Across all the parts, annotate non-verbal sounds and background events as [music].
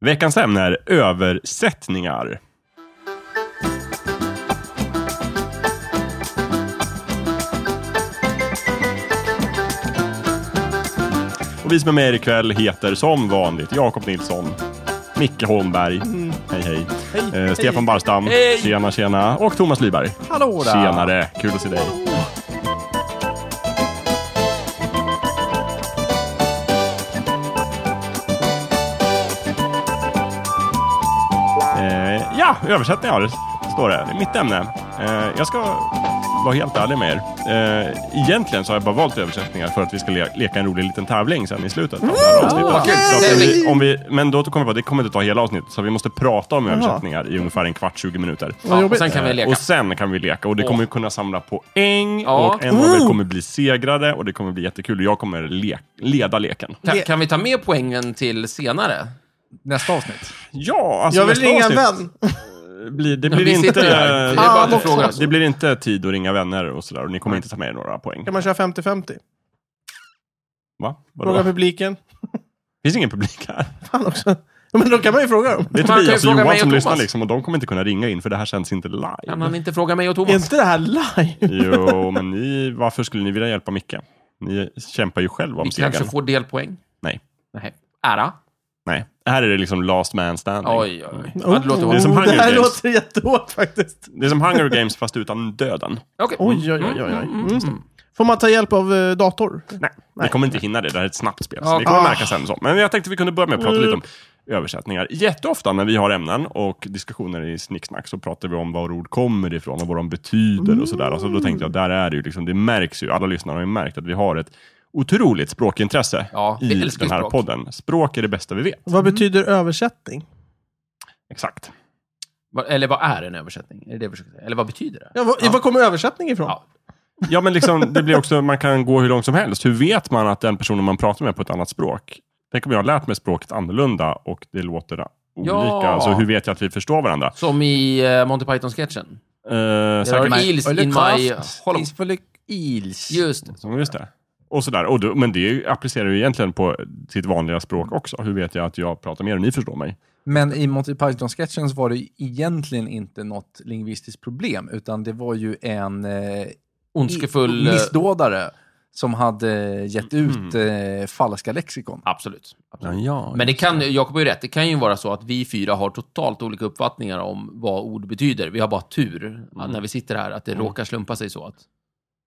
Veckans ämne är översättningar. Och vi som är med er ikväll heter som vanligt Jakob Nilsson, Micke Holmberg, hej Mm. hej, Eh, Stefan Barstam, tjena tjena, och Thomas Lyberg. Hallå där. Tjenare, kul att se dig. Eh, ja, översättningar står det. Det är mitt ämne. Eh, jag ska vara helt ärlig med er. Eh, egentligen så har jag bara valt översättningar för att vi ska le- leka en rolig liten tävling sen i slutet av det här avsnittet. vad kul. Så att om vi, Tävling. om vi, men då kommer vi på att det kommer inte ta hela avsnittet, så vi måste prata om översättningar i ungefär en kvart, 20 minuter. Ja, och jobbigt. sen kan vi leka. Eh, Och sen kan vi leka och det kommer vi kunna samla poäng Ja. och en av er kommer bli segrade och det kommer bli jättekul. Jag kommer le- leda leken. Kan, kan vi ta med poängen till senare? Nästa avsnitt. Ja, alltså Jag vill nästa ringa en avsnitt vän. Blir, det, Men blir vi inte, sitter ju här. Det är bara att du Ah, frågar oss. det blir inte tid att ringa vänner och sådär och ni kommer inte ta med er några poäng. Kan man köra 50-50? Va? Vadå? Fråga publiken. finns ingen publik här. Fan också. Ja, men då kan man ju fråga dem. Det är Man kan ju Tobias och fråga Johan mig och som Thomas. lyssnar liksom och de kommer inte kunna ringa in för det här känns inte live. Kan han inte fråga mig och Är Thomas? inte det här live? Jo, men ni, varför skulle ni vilja hjälpa Micke? Ni kämpar ju själva om Vi segern. kanske får delpoäng? Nej. Nej. Ära? Nej, här är det liksom last man standing. Oj, oj, oj. Ja, det låter Det är som Oh, Hunger det här Games. Mm. låter jättehårt faktiskt. Det är som Hunger Games fast utan döden. Okej. Oj, oj, oj, oj. oj. Mm. Får man ta hjälp av eh, dator? Nej, vi kommer inte hinna det. Det här är ett snabbt spel. Så Ja. vi kommer Ah. märka sen så. Men jag tänkte vi kunde börja med att prata lite om översättningar. Jätteofta när vi har ämnen och diskussioner i Snicksnack så pratar vi om var ord kommer ifrån och vad de betyder och sådär. Alltså då tänkte jag, där är det ju liksom, det märks ju. Alla lyssnare har ju märkt att vi har ett otroligt språkintresse Ja, i vi älskar den här språk. podden. Språk är det bästa vi vet. Vad betyder översättning? Exakt. Vad- Eller vad är en översättning? Är det det vi försöker säga? Eller vad betyder det? Ja, var, var kommer översättning ifrån? Ja. Ja, men liksom, det blir också, man kan gå hur långt som helst. Hur vet man att den personen man pratar med på ett annat språk? Tänk om jag har lärt mig språket annorlunda och det låter olika. Ja. Alltså, hur vet jag att vi förstår varandra? Som i eh, Monty Python-sketchen. Uh, There säkert, are eels in my... Håll- Isfolk Eels. Just det. Ja, just det. Och sådär. Och då, men det applicerar ju egentligen på sitt vanliga språk också. Hur vet jag att jag pratar med er och ni förstår mig? Men i Monty Python-sketchen så var det ju egentligen inte något lingvistiskt problem, utan det var ju en eh, Ondskefull... eh, Mm. missdådare som hade gett ut eh, falska lexikon. Absolut. absolut. ja. Men det kan, Jakob har ju rätt, det kan ju vara så att vi fyra har totalt olika uppfattningar om vad ord betyder. Vi har bara tur Mm. att när vi sitter här, att det råkar slumpa sig så. Att,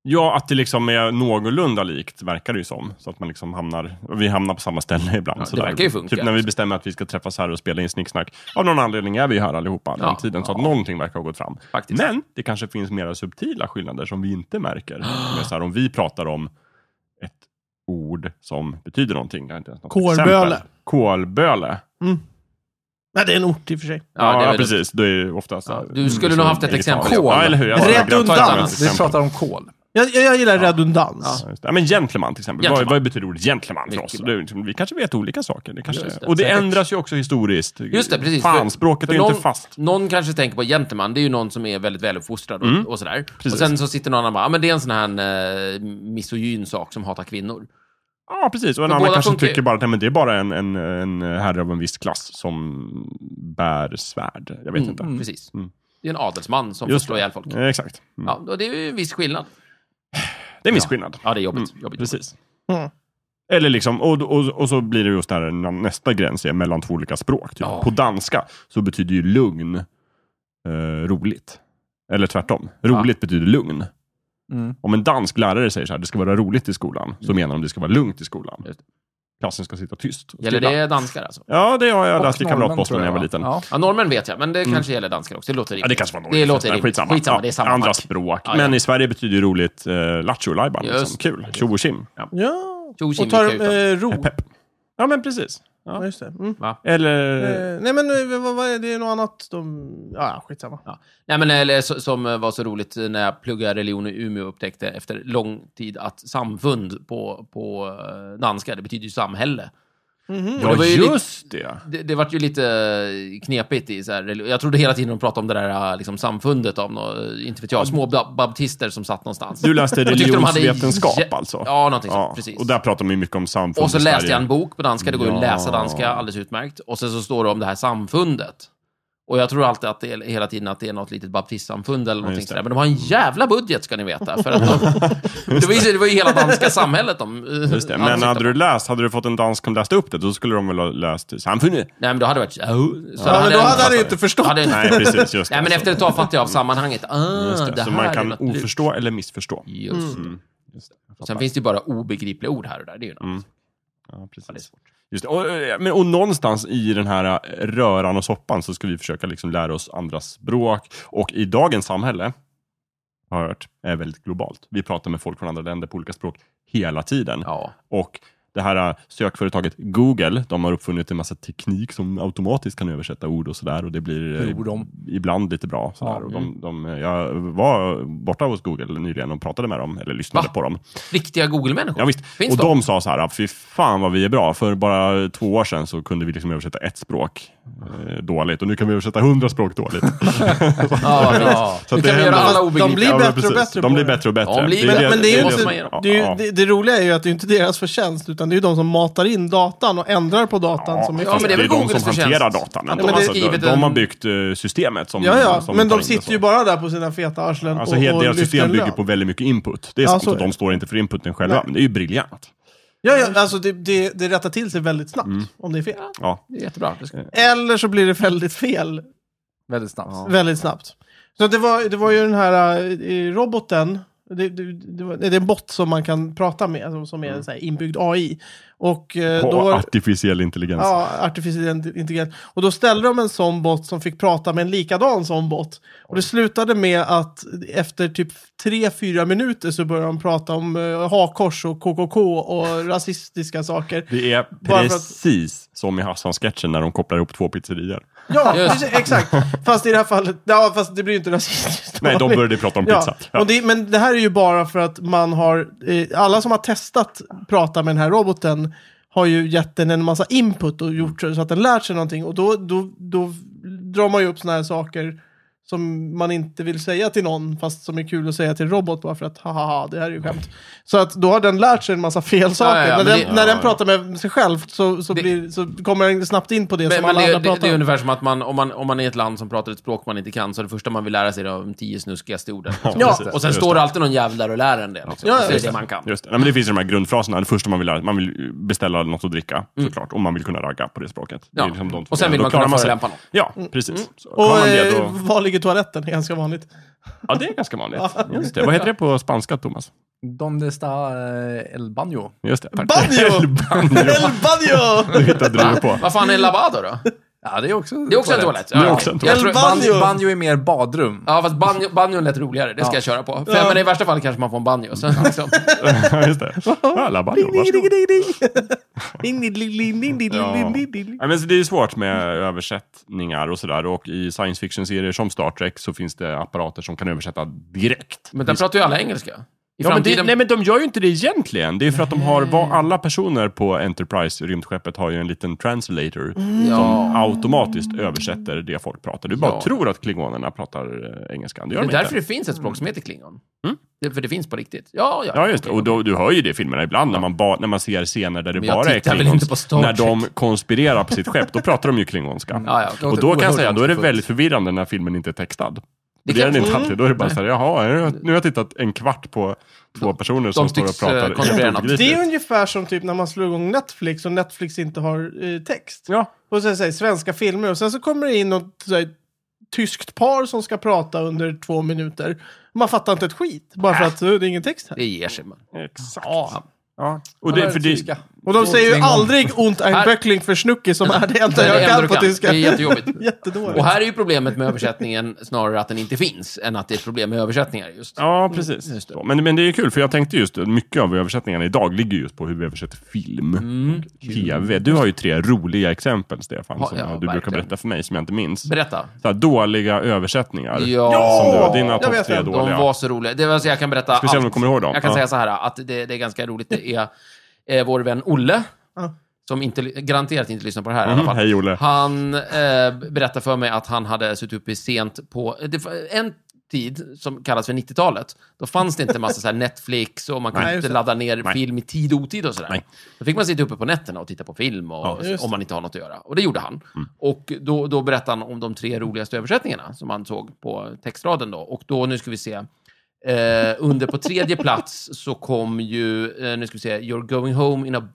ja, att det liksom är någorlunda likt verkar det ju som. Så att man liksom hamnar, vi hamnar på samma ställe [laughs] ibland. Ja, det sådär. verkar ju funka. Typ när vi bestämmer att vi ska träffas här och spela in snicksnack. Av någon anledning är vi här allihopa den Ja, tiden, så att ja. någonting verkar ha gått fram. faktiskt. Men det kanske finns mera subtila skillnader som vi inte [gasps] märker. Som är så här, om vi pratar om ett ord som betyder någonting. Jag har inte ens något Kålböle. exempel. Kålböle. Nej, det är en ort i och för sig. det Ja, är ja väl- precis. Det är ju oftast... Ja, du skulle nog haft ett exempel. Kol. Ja, eller hur? Jag Rätt skulle gärna ta ett undan. annat Vi exempel. pratar om kol. Jag, jag, jag gillar redundans. Ja, just det. Ja, men gentleman till exempel. Gentleman. Vad, vad betyder ordet gentleman för Mycket oss? bra. Det, är liksom- vi kanske vet olika saker. Det kanske, Just det, och det säkert. ändras ju också historiskt. Just det, precis. För- Fan, språket för är ju någon, inte fast. Någon kanske tänker på gentleman, det är ju någon som är väldigt väluppfostrad och, och sådär. Mm. Precis. Och sen så sitter någon annan och bara, ah, men det är en sån här eh, misogyn sak som hatar kvinnor. Ja, precis. Och en För annan båda kanske funkar ju. tycker bara att nej, men det är bara en, en, en herre av en viss klass som bär svärd. Jag vet inte. Mm, Precis. Det är en adelsman som Just får slå det. ihjäl folk. Eh, Exakt. Mm. Ja, och det är ju en viss skillnad. Det är en viss skillnad. Ja, det är jobbigt. jobbigt. Precis. Mm. Eller liksom, och, och, och så blir det just där när nästa gräns är mellan två olika språk. Typ. Ja. På danska så betyder ju lugn eh, roligt. Eller tvärtom. Roligt betyder lugn. Mm. Om en dansk lärare säger så här, det ska vara roligt i skolan, så menar de det ska vara lugnt i skolan. Mm. Just det. Klassen ska sitta tyst. och Gäller stilla. det danskar alltså? Ja, det har jag Och läst i normen, Kamratposten tror när jag var liten. Ja. Ja. Ja, normen vet jag, men det kanske gäller danskar också. Det låter rimligt. Mm. det kanske var något. Det låter Nej, rimligt. Skitsamma. Skitsamma, Ja, det är samma Andra pack. språk. Ja, ja. Men i Sverige betyder det roligt eh, lattjo lajban. Liksom. Just Kul. Tjo och tjim. Ja. Tjo Och tar tjimikutan. eh, ro. Pepp. Ja, men precis. Ja, just det. Mm. Eller... mm, Eh, nej, men eh, vad, vad är det? det är något annat de... Ja, ja, skitsamma. Ja. Nej, men eller så- som eh, var så roligt eh, när jag pluggade religion i Umeå upptäckte efter lång tid att samfund på, på eh, danska, det betyder ju samhälle. Och Ja, det var ju lite- just det. Det, det vart ju lite eh, knepigt i så här, reli- jag trodde hela tiden de pratade om det där liksom, samfundet av nå, inte vet jag, små ba- baptister som satt någonstans. Du läste [laughs] Jag tyckte de hade religionsvetenskap jä- alltså? Ja, någonting sånt, Ja, precis. Och där pratar man ju mycket om samfund Och så i läste Sverige. jag en bok på danska, det går ju att Ja. läsa danska alldeles utmärkt. Och sen så står det om det här samfundet. Och jag tror alltid att det är, hela tiden att det är något litet baptistsamfund eller någonting just det. Mm. sådär. Men de har en jävla budget ska ni veta. För att [laughs] de, det, var ju, det var ju hela danska samhället de eh, Just det. Men ansikten. hade du läst, hade du fått en dansk som läste upp det, då skulle de väl ha läst [laughs] samfundet? Nej men då hade det varit... Så Ja, men då hade han jag- ju inte förstått. hade jag inte- Nej, precis. Just det. Nej men Så- efter ett tag fattade jag av sammanhanget. Ah, just det. det. Så här man är kan något lurt. oförstå eller missförstå. Just Just det. det. Jag Och fattar. Mm. Sen finns det ju bara obegripliga ord här och där. Det är ju något. Ja, precis. Ja, det är svårt. Just det. Och, eh, men, och någonstans i den här eh, röran och soppan så ska vi försöka liksom lära oss andras språk. Och i dagens samhälle, har jag hört, är väldigt globalt. Vi pratar med folk från andra länder på olika språk hela tiden. Ja. Och det här eh, sökföretaget Google, de har uppfunnit en massa teknik som automatiskt kan översätta ord och sådär. Och det blir eh, Tror de. ibland lite bra. Sådär. Ja, och mm. de, de, eh, jag var borta hos Google nyligen och pratade med dem, eller lyssnade Va? på dem. Riktiga Google-människor. Ja, visst. Finns och de? de sa så här, fy fan vad vi är bra. För bara två år sedan så kunde vi liksom översätta ett språk eh, dåligt och nu kan vi översätta hundra språk [laughs] dåligt. Ja, vad [laughs] fint. Så Nu det kan vi göra händer. alla De blir obegripliga. Ja, men bättre och precis. bättre De på blir det. bättre och bättre. Ja, de blir är bättre. Men, men det är ju det inte, man gör. det, är Ja. ju, det, det roliga är ju att det är inte deras förtjänst, utan det är ju de som matar in datan och ändrar på datan Ja, som är fast Ja, men det är väl de Googles som hanterar förtjänst. datan. Att ändå. de har alltså, de, skrivit de har en- byggt eh, systemet som... Ja, ja, som men tar de in sitter det ju så. bara där på sina feta arslen Alltså, och, hela och deras lyfter system en bygger lön. på väldigt mycket input. Det är Ja, sant så att är de det. står inte för inputen själva, Nej. men det är ju briljant. Ja, ja, alltså det, det, det rättar till sig väldigt snabbt om det är fel. Ja. Det är jättebra. Det ska- Eller så blir det väldigt fel Väldigt snabbt. väldigt snabbt. Så det var, det var ju den här eh, roboten, det, det, det, var, det är en bot som man kan prata med, som, som är så här inbyggd AI. Och eh, då... Och var- artificiell intelligens. Ja, artificiell intelligens. Och då ställde de en sån bot som fick prata med en likadan sån bot. Och det slutade med att efter typ 3-4 minuter så började de prata om uh, hakors och KKK och rasistiska saker. Det är Bara för att- precis som i Hassan-sketchen när de kopplar ihop två pizzerior. Ja, Just. precis, exakt. Fast i det här fallet, ja, fast det blir ju inte rasistiskt. Nej, de började prata om pizza. Ja, och det, men det här är ju bara för att man har, eh, alla som har testat prata med den här roboten har ju gett den en massa input och gjort så att den lärt sig någonting. Och då, då, då drar man ju upp sådana här saker som man inte vill säga till någon, fast som är kul att säga till robot bara för att haha, det här är ju skämt. Så att då har den lärt sig en massa fel saker. ja, när men den, det- när den ja, ja. pratar med sig själv så, så, Det- blir, så kommer den snabbt in på det Men, som men alla det, andra det, pratar det är om. ungefär som att man, om, man, om man är ett land som pratar ett språk man inte kan, så är det första man vill lära sig är de tio snuskigaste orden. liksom. Ja. precis. Och sen Just står det alltid någon jävel där och lär en det. Liksom. Ja, Så det är just det man kan. Just det. Nej, men det finns ju de här grundfraserna. Det första man vill lära man vill beställa något att dricka såklart. Och man vill kunna ragga på det språket. Det är Mm. Ja. liksom de två Och sen vill grejerna. Då man klarar kunna sig. förolämpa någon. Mm. Ja, precis. Så Och klarar man det, eh, då... var ligger toaletten? Det är ganska vanligt. Ja, det är ganska [laughs] vanligt. Just det. Vad heter det på spanska, Thomas? Donde está eh, el baño? Just det. Tack. [laughs] Banjo! El banjo. El banjo! [laughs] [laughs] Du hittade du på. Vad fan är en lavado då? Ja, det är också Det är också en toalett. Det är också en Jag toalett. tror- Banjo. Banjo. banjo är mer badrum. Ja, fast banjo, banjon lät roligare. Det ska jag köra på. För, Ja. Men i värsta fall kanske man får en [laughs] banjo. Så, liksom. Just det. Ja, la banjo. Ding, ding, Varsågod. ding, ding, ding. [laughs] Ding, ding, ding, ding, ding, ding, Ja. ding, ding, ding. Ja, men så det är svårt med översättningar och sådär. Och i science fiction-serier som Star Trek så finns det apparater som kan översätta direkt. Men där pratar ju alla engelska. I Ja, men det, framtiden... nej men de gör ju inte det egentligen. Det är för att de har, var, alla personer på Enterprise, rymdskeppet, har ju en liten translator som automatiskt översätter det folk pratar. Du bara Mm. Ja. tror att klingonerna pratar eh, engelska, det gör de det är inte. Mm. därför det finns ett språk som heter klingon. Det, för det finns på riktigt. Ja, ja. Ja, just det. Och då, du hör ju det i filmerna ibland när man, ba, när man ser scener där det Men jag bara är tittar väl klingons. inte på Star när de konspirerar på sitt skepp, då pratar de ju klingonska. [laughs] Ja, ja. Och då kan jag Oerhört säga, då är det långsamt. väldigt förvirrande när filmen inte är textad. Det, kan- är den inte alltid. Då är det bara såhär, jaha, nu har jag- nu har jag tittat en kvart på två personer som står och tycks, eh, pratar. konspirera något. Det jätteobegripligt. är ungefär som typ när man slår igång Netflix och Netflix inte har eh, text. Ja, Och sen säger svenska filmer och sen så kommer det in något så här, tyskt par som ska prata under två minuter. Man fattar inte ett skit, bara Äh. för att eh, det är ingen text här. Det ger sig. Man. exakt. Ja. Ja. Och det, för det, Tyska. Och de säger ju Klingon. aldrig ont ein Här- Böckling för Schnucke som är det enda Det är det jag enda kan du på kan. Det tyska. [laughs] är jättejobbigt. [laughs] Och Jättedåligt. här är ju problemet med översättningen snarare att den inte finns, än att det är ett problem med översättningar just. ja, precis. Så. Men, men det är kul, för jag tänkte just att mycket av översättningarna idag ligger just på hur vi översätter film och tv. Du har ju tre roliga exempel, Stefan, Mm. Ja, som ja, du brukar verkligen. berätta för mig, som jag inte minns. Berätta. Så här, dåliga översättningar. Ja. Som du har, dina Jag topp vet tre vem. De dåliga. De var så roliga. Det var så jag kan berätta Speciellt om du allt. kommer ihåg dem. Jag kan Ja. säga så här att det, det är ganska roligt. Det är eh, vår vän Olle. Ja. som inte, garanterat inte lyssnar på det här i Mhm, alla fall. hej, Olle. Han eh, berättade för mig att han hade suttit uppe sent på... eh, Det var en tid som kallas för 90-talet. Då fanns det inte en massa så här Netflix och man kunde Nej, just inte det. ladda ner Nej. film i tid och otid och sådär. Nej. Då fick man sitta uppe på nätterna och titta på film och, Ja, Mm. just det. om man inte har något att göra. Och det gjorde han. Och då, då berättade han om de tre roligaste översättningarna som han såg på textraden då. Och då, nu ska vi se. Eh, under på tredje plats så kom ju, eh, nu ska vi se, You're going home in a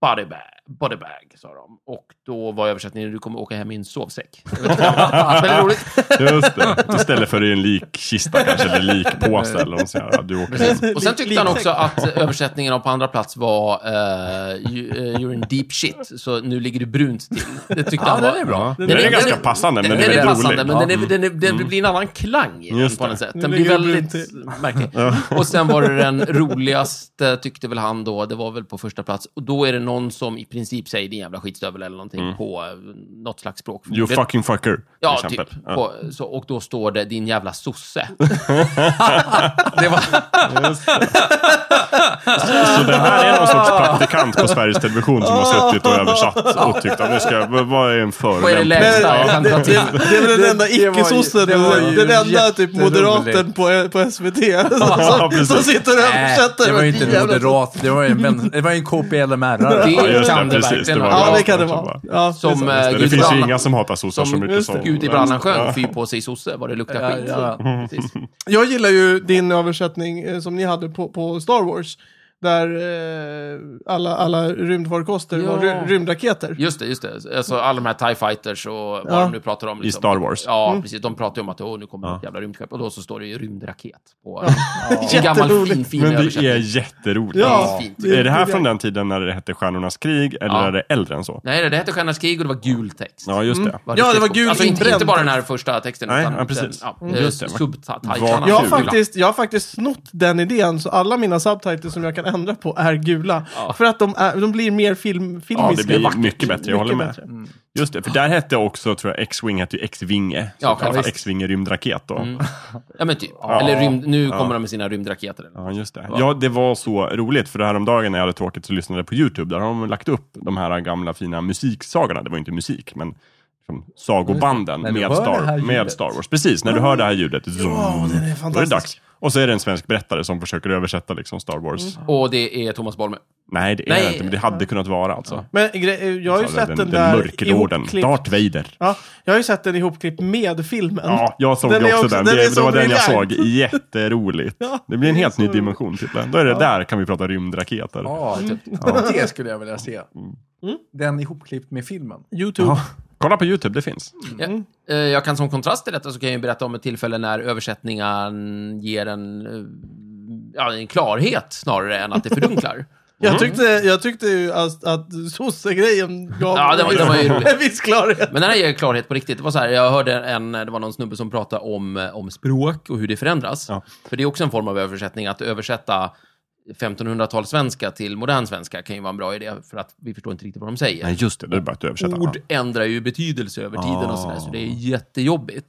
body bag, body bag sa de. Och då var översättningen, du kommer åka hem i en sovsäck. Jag vet inte. Väldigt roligt. Just det. Istället för i en likkista kanske, eller likpåse eller något sånt. här. Du åker [laughs] in. Och sen tyckte han Liksäck. också att översättningen av på andra plats var eh, you, eh, You're in deep shit, så nu ligger du brunt till. Det tyckte han var... den är bra. Den är ganska passande, men Den, den är den är väldigt passande, rolig. Mm. men den, är, den, är, den blir en annan klang i den Just på det. något sätt. Nu Den blir ligger du väldigt [laughs] märklig. Och sen var det den roligaste, tyckte väl han då, det var väl på första plats. Och då är det någon som i princip säger din jävla skitstövel eller någonting på eh, något slags språk. Mm. You förmodligen. fucking fucker, till Ja, exempel. typ. Ja. På, så, och då står det din [laughs] jävla sosse. [laughs] det var, Så det här är någon sorts praktikant på Sveriges Television som har suttit och Ah. översatt och tyckt att nu ska jag, vad är en vad är det förolämpning? lägsta jag Men, kan det, dra till? det, det är väl den enda Det- det var ju- icke-sossen. det var ju Den enda typ jätteroligt. moderaten på, på SVT Ja, [laughs] som, precis. som sitter och Nej, översätter. Äh, det var ju Vilken inte en jävla- moderat, det var ju en, vän- det var ju en KPLMR-are. Det- Ja, just kan det, det precis. verkligen Det, var vara. Ja, bra. det kan det vara. Ja, Som, precis. eh, det Gud finns ju förbannat. inga som hatar sossar så Som mycket som Gud i brallan sjöng, fy på sig sosse, vad det luktar skit. Ja, [laughs] Precis. Jag gillar ju din översättning eh, som ni hade på, på Star Wars. Där eh, alla, alla rymdfarkoster Ja. var ry- rymdraketer. Just det, just det. Alltså alla de här TIE fighters och vad Ja. Mm. de nu pratar om. liksom. I Star Wars. Ja, precis. De pratar ju om att åh, nu kommer ett jävla rymdskepp. Och då så står det ju rymdraket på [laughs] en gammal Jätteroligt. fin, fin Men det översättning. är jätteroligt. Ja, fint. Är det här från den tiden när det hette Stjärnornas krig, eller Ja. är det äldre än så? Nej, det- det hette Stjärnornas krig och det var gul text. Ja, just det. Ja, det riktigt var coolt. gul Alltså inte, inbränd inte bara den text. här första texten. Nej, utan ja, precis. Den, ja, eh, Mm. Just det. subtitlarna. Jag har, Kul. faktiskt, jag har faktiskt snott den idén, så alla mina subtitles som jag kan ändra på är gula. För att de, är, de blir mer film, filmiska. Ja, det blir vackert. Mm. mycket bättre, jag håller Mycket med. bättre. Just det, för där hette också, tror jag, X-Wing hette ju X-Vinge. Ja, Ja, visst. Mm. X-Vinge rymdraket då. Ja, men typ. Eller rymd, nu kommer de med sina rymdraketer. eller? Ja, just det. Ja, det var så roligt, för häromdagen när jag hade tråkigt så lyssnade jag på YouTube. Där har de lagt upp de här gamla fina musiksagorna. Det var ju inte musik, men liksom sagobanden När du med hör det här Star, ljudet. med Star Wars. Precis, när du hör det här ljudet. Ja, den är då är det fantastisk. dags. Och så är det en svensk berättare som försöker översätta liksom Star Wars. Mm. Och det är Thomas Bolme. Nej, det är Nej. det inte, men det hade kunnat vara alltså. Men gre- jag har ju Så sett den, den där mörklorden, ihopklippt- Darth Vader. Ja, jag har ju sett den ihopklippt med filmen. Ja, jag såg Den ju är också också- den. den det, är det så var den jag såg. briljant. Jätteroligt. Ja, det blir en det är helt så ny roligt. dimension till den. Då är det där kan vi prata rymdraketer. Ja, typ. Det skulle jag vilja se. Mm. Den ihopklippt med filmen. YouTube. Ja. Kolla på YouTube, det finns. Ja, eh, jag kan som kontrast till detta så kan jag ju berätta om ett tillfälle när översättningen ger en, eh, ja, en klarhet snarare än att det fördunklar. Mm. Jag, tyckte, jag tyckte ju att, att sossegrejen gav Ja, den var- den var ju [laughs] rolig. en viss klarhet. Men den här ger klarhet på riktigt. Det var så här, jag hörde en, det var någon snubbe som pratade om, eh, om språk och hur det förändras. Ja. För det är också en form av översättning, att översätta 1500-talssvenska till modern svenska kan ju vara en bra idé, för att vi förstår inte riktigt vad de säger. Nej, just det. Det är bara att översätta. ord ändrar ju betydelse över tiden och sådär, så det Ah. är jättejobbigt.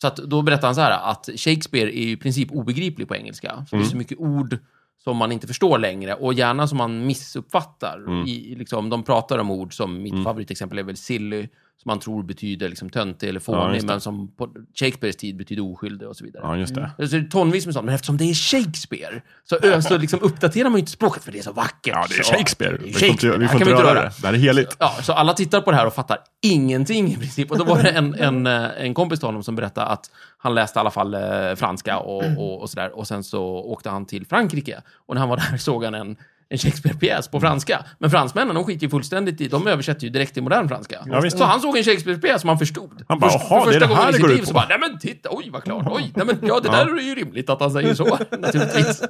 Så att då berättar han så här att Shakespeare är ju i princip obegriplig på engelska. För Det Mm. är så mycket ord som man inte förstår längre och gärna som man missuppfattar. Mm. I, liksom, de pratar om ord som, mitt favoritexempel är väl silly, som man tror betyder liksom töntig eller Ja, fånig, just det. men som på Shakespeares tid betyder oskyldig och så vidare. Mm. Ja, just det. Så det är tonvis med sånt, men eftersom det är Shakespeare så, ö, så liksom uppdaterar man ju inte språket för det är så vackert. Ja, det är så- Shakespeare. Det är Vi får inte, Shakespeare. vi Här får kan inte röra det. Det här är heligt. Ja, så alla tittar på det här och fattar ingenting i princip. Och då var det en, en, eh, en kompis till honom som berättade att han läste i alla fall eh, franska och, Mm. och, och sådär. Och sen så åkte han till Frankrike. Och när han var där [laughs] såg han en, en Shakespeare-pjäs på franska. Men fransmännen, de skiter ju fullständigt i, de översätter ju direkt till modern franska. Ja, visst. så han såg en Shakespeare-pjäs som han förstod. Han bara, Först- "Jaha, för det är det första gången här i det sitt går liv ut så på." bara, nej men titta, oj vad klart, oj, nej men ja det där är ju rimligt att han [laughs] säger så, naturligtvis.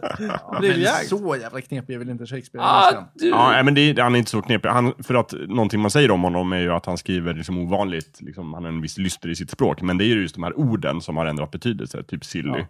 Men Briljant. så jävla knepig är väl inte Shakespeare? Ah, egentligen? du. Ja, nej, men det, är- han är inte så knepig. Han, för att någonting man säger om honom är ju att han skriver liksom ovanligt, liksom, han har en viss lyster i sitt språk. Men det är ju just de här orden som har ändrat betydelse, typ silly.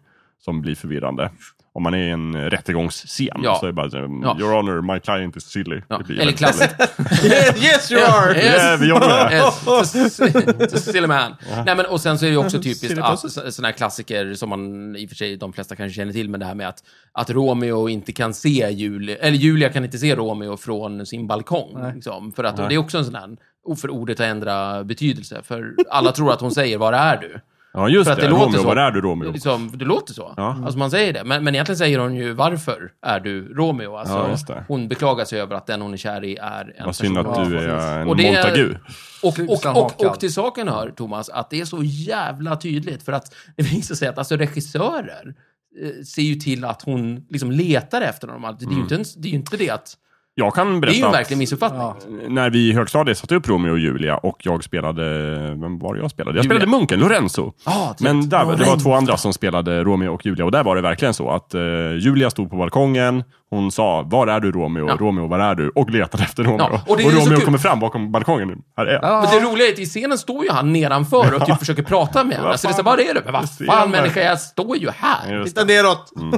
som blir förvirrande. Om man är i en eh, rättegångsscen Ja. så är det bara så här, Ja. Your honor, my client is silly. Ja. Det blir Eller väldigt [laughs] klassiskt. [laughs] yes you are! Ja, Yeah, vi jobbar [laughs] med det. [laughs] Yes, it's a- it's a silly man. Nej, men, och sen så är det ju också Mm. typiskt Silly att, process. så- såna här klassiker som man i och för sig de flesta kanske känner till, men det här med att, att Romeo inte kan se Julia, eller Julia kan inte se Romeo från sin balkong. Liksom, för att, och det är också en sån här, och för ordet att ändra betydelse, för alla tror att hon säger “Var är du?” Ja, just För att det. det Romeo, låter så. var är du Romeo? Liksom, det låter så. Ja. Alltså man säger det. Men, men egentligen säger hon ju varför är du Romeo? Alltså, Ja, just det. hon beklagar sig över att den hon är kär i är en Vad synd person. att du Ja, är en Och det- Montagu. Och, Tusen och, och, hakar. och till saken hör, Thomas, att det är så jävla tydligt för att det visar sig att alltså, regissörer eh, ser ju till att hon liksom letar efter honom. Alltså, Det är ju inte, ens- det, är ju inte det att... Jag kan Det är ju Mm. berätta en att- verklig missuppfattning. Ja. när vi i högstadiet satte upp Romeo och Julia och jag spelade, vem var det jag spelade? Jag Julia. spelade munken, Lorenzo. Ah, trevligt. Men där, det var Lorenzo. två andra som spelade Romeo och Julia och där var det verkligen så att eh, Julia stod på balkongen, hon sa var är du Romeo, Ja. Romeo var är du och letade efter Romeo. Ja, och och det är så Romeo kul. kommer fram bakom balkongen, här är jag. Men det roliga är att i scenen står ju han nedanför och typ försöker [laughs] prata med henne. Så det är så, vad är du? Men vad ser fan man. människa, jag står ju här. Just Titta neråt! Mm.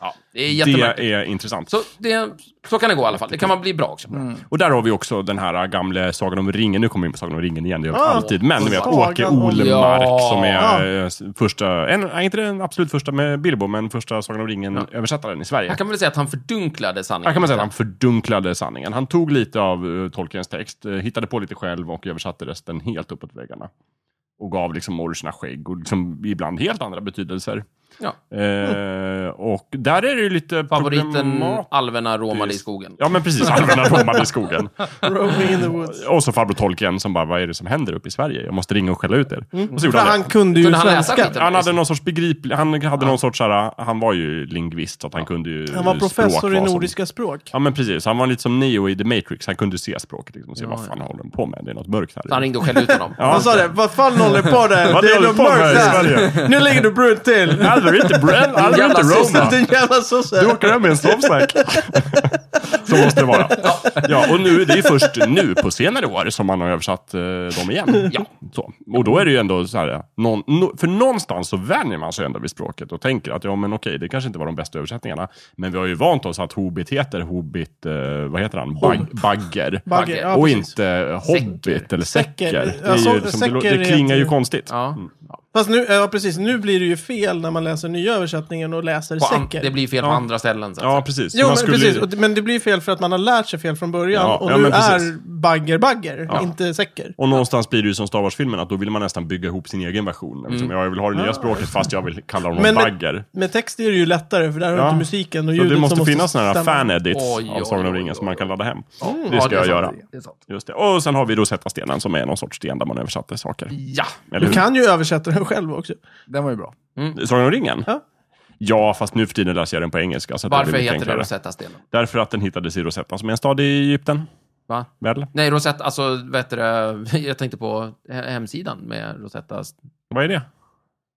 Ja, det är det. jättemärkligt. det är Mm. intressant. Så, det, så kan det gå i alla fall. Det kan man bli bra också. Och där har vi också den här gamla Sagan om ringen. Nu kommer vi in på Sagan om ringen igen, det gör vi Ah, alltid. Men ni vet, Sagan Åke om- Ah. Olmark Ja. som Ja. är eh, s- första, en, nej, inte den absolut första med Bilbo, men första Sagan om ringen-översättaren i Sverige. Här kan man väl säga att han fördunklade sanningen. Här kan man säga att han fördunklade sanningen. Han tog lite av uh, Tolkiens text, eh, hittade på lite själv och översatte resten helt uppåt väggarna. Och gav liksom morsorna skägg och liksom ibland helt andra betydelser. Ja. Eh, och där är det ju lite Favoriten problemat- alverna romade i skogen. Ja men precis, alverna romade i skogen. [laughs] Roaming in the woods. Och så farbror Tolkien som bara, vad är det som händer uppe i Sverige? Jag måste ringa och skälla ut er. Och så Mm. För gjorde han han det. kunde liksom- ju Kunde han läsa svenska. skiten? Han hade någon sorts begriplig, han hade någon sorts, så här, han var ju lingvist så att han kunde ju Han var språk, alltså. professor i vad som- nordiska språk. Ja men precis, han var lite som Neo i The Matrix, han kunde se språket liksom, och se vad fan håller de på med, det är något mörkt här. Så han ringde och skällde ut honom. [laughs] Ja. Han sa det, vad fan håller du på där? Vad Det är håller något du på med mörkt i där. Sverige? [laughs] Nu ligger du brunt till. Aldrig inte Bren, aldrig Jävla inte Roma. Din jävla Du sosse. åker hem med en sovsäck. [laughs] Så måste det vara. Ja, och nu, det är först nu på senare år som man har översatt eh, dem igen. Ja, så. Och då är det ju ändå så här, eh, någon, no, för någonstans så vänjer man sig ändå vid språket och tänker att ja men okej, det kanske inte var de bästa översättningarna. Men vi har ju vant oss att Hobbit heter Hobbit, eh, vad heter han, Bag, Bagger. Bagge, ja, och precis. inte Hobbit eller Säcker. Säcker. Det, Ja, är så- ju, liksom, det, lå- säcker det klingar ju heter- konstigt. Ja. Fast nu, ja, precis, nu blir det ju fel när man läser nya översättningen och läser På an- säker. det blir fel på andra ställen. Så att Ja, precis. Jo, Man men, skulle ju- precis. Och det- men det blir fel för att man har lärt sig fel från början. Ja, och ja, nu men precis. är bagger bagger, inte säker. Och någonstans blir det ju som Star Wars-filmen, att då vill man nästan bygga ihop sin egen version. Liksom, Mm. jag vill ha det nya språket fast jag vill kalla honom Men- bagger. Med text är det ju lättare, för där har du Ja. inte musiken och Så ljudet det måste som finnas sådana här stämma. fan-edits Oj, av oj, Sagan om oj, ringen som man kan ladda hem. Ja, Det ska det är jag sant. göra. Det är sant. Just det. Och sen har vi då Sätta stenen som är någon sorts sten där man översätter saker. Ja. Eller Du hur? kan ju översätta den själv också. Den var ju bra. Sagan om ringen? Ja. Ja, fast nu för tiden läser jag den på engelska. Så att det Varför blir lite heter det enklare. Rosetta stenen? Därför att den hittades i Rosetta, som är en stad i Egypten. Va? Väl? Nej, Rosetta, alltså, vad heter det? [laughs] Jag tänkte på he- hemsidan med Rosetta. Vad är det?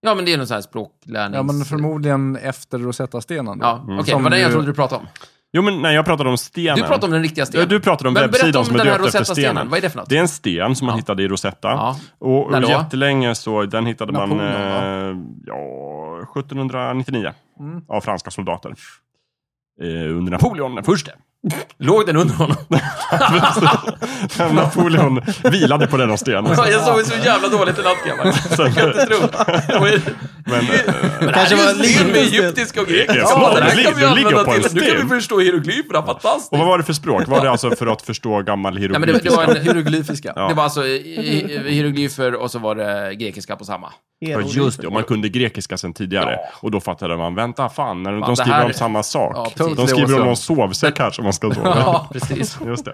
Ja, men det är någon sån här språklärnings... Ja, men förmodligen efter Rosetta-stenen. då. Ja, okej, Som det var den jag ju- trodde du pratade om. Jo, men nej, jag pratade om stenen. Du pratade om den riktiga stenen. Ja, du pratade om Men berätta webbsidan om som är den här döpt efter Rosetta-stenen. stenen. Vad är det för något? Det är en sten som man Ja. hittade i Rosetta. Ja. Och, och När då? jättelänge så, den hittade man Napoleon, eh, ja, 1799 Mm. av franska soldater. Eh, under Napoleon den första. Låg den under honom? [laughs] Napoleon vilade på denna [laughs] sten. jag såg så jävla dåligt i natt, [laughs] grabbar. Sen- Men, Men Kanske här är var ju en sten liten med sten. egyptiska och grekiska. Ja, Ja, den här precis. kan vi Den ligger använda på en till. Nu kan sten. vi förstå hieroglyferna, fantastiskt. och vad var det för språk? Var det alltså för att förstå gammal Nej, men hieroglyfiska? det, det, var en, Hieroglyfiska. Ja. det var alltså i- i- hieroglyfer och så var det grekiska på samma. Ja, just det. Och man kunde grekiska sen tidigare. Och då fattade man, vänta fan, när de, de skriver det här- om samma Ja, sak. precis. de skriver om Totally någon sovsäck här som man [laughs] ska sova Ja, precis. [laughs] Just det.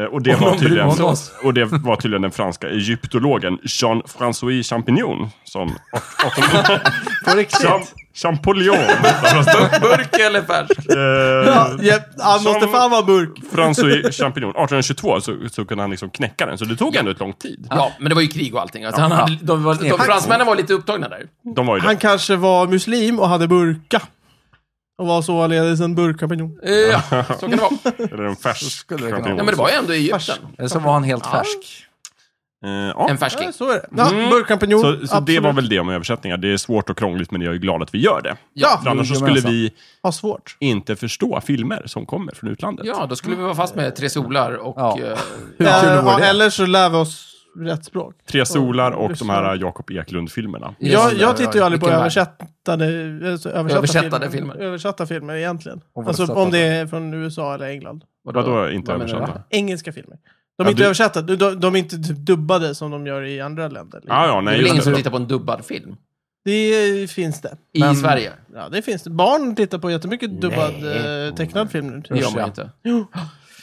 Eh, Och det, var någon bryr tydligen, sig om oss. och det var tydligen den franska egyptologen Jean-François Champignon som... På [laughs] riktigt. Cham, Champollion. [laughs] Burk eller färsk? Eh, Ja, han Som- måste fan vara burk. François Champignon. 1822 så, så kunde han liksom knäcka den, så det tog ändå ett lång tid. Ja, men det var ju krig och allting. Alltså, han hade, de, var, de, fransmännen var lite upptagna där. De var ju Han det. kanske var muslim och hade burka. Och var således en burkkampinjon. Eh, Ja, så [laughs] kan det vara. Eller en färsk det kunna champignon. Ja, men det var ju ändå i Egypten. Eller så var han helt färsk. Eh, ja. En Ja, färsking. så är det. Ja, Mm. Burkampanjon, Så, så det absolut. var väl det om översättningar. Det är svårt och krångligt, men jag är glad att vi gör det. Ja, För annars så skulle vi ha svårt. inte förstå filmer som kommer från utlandet. Ja, då skulle vi vara fast med Tre Solar och... Ja. eh, Hur Eh, kul ja, vore det? eller så lär vi oss rätt språk. Tre solar och Just de här Jakob Eklund-filmerna. Yes. jag, ja, jag tittar ju ja, aldrig på vilken värld. översättade, alltså, översatta, Översättade filmer. filmer. Översatta filmer egentligen. Och Alltså översatta. om det är från USA eller England. Vadå inte Vad menar du? översatta? Engelska filmer. De är Ja, inte du- översatta, de, de, de är inte typ dubbade som de gör i andra länder. liksom. Ja, ja, Det är nej. väl just ingen som det. tittar på en dubbad film? Det finns det. I Men- Sverige? Ja, det finns det. Barn tittar på jättemycket dubbad Nej. eh, tecknad film nu. Det tror gör jag. man ju inte. Jo.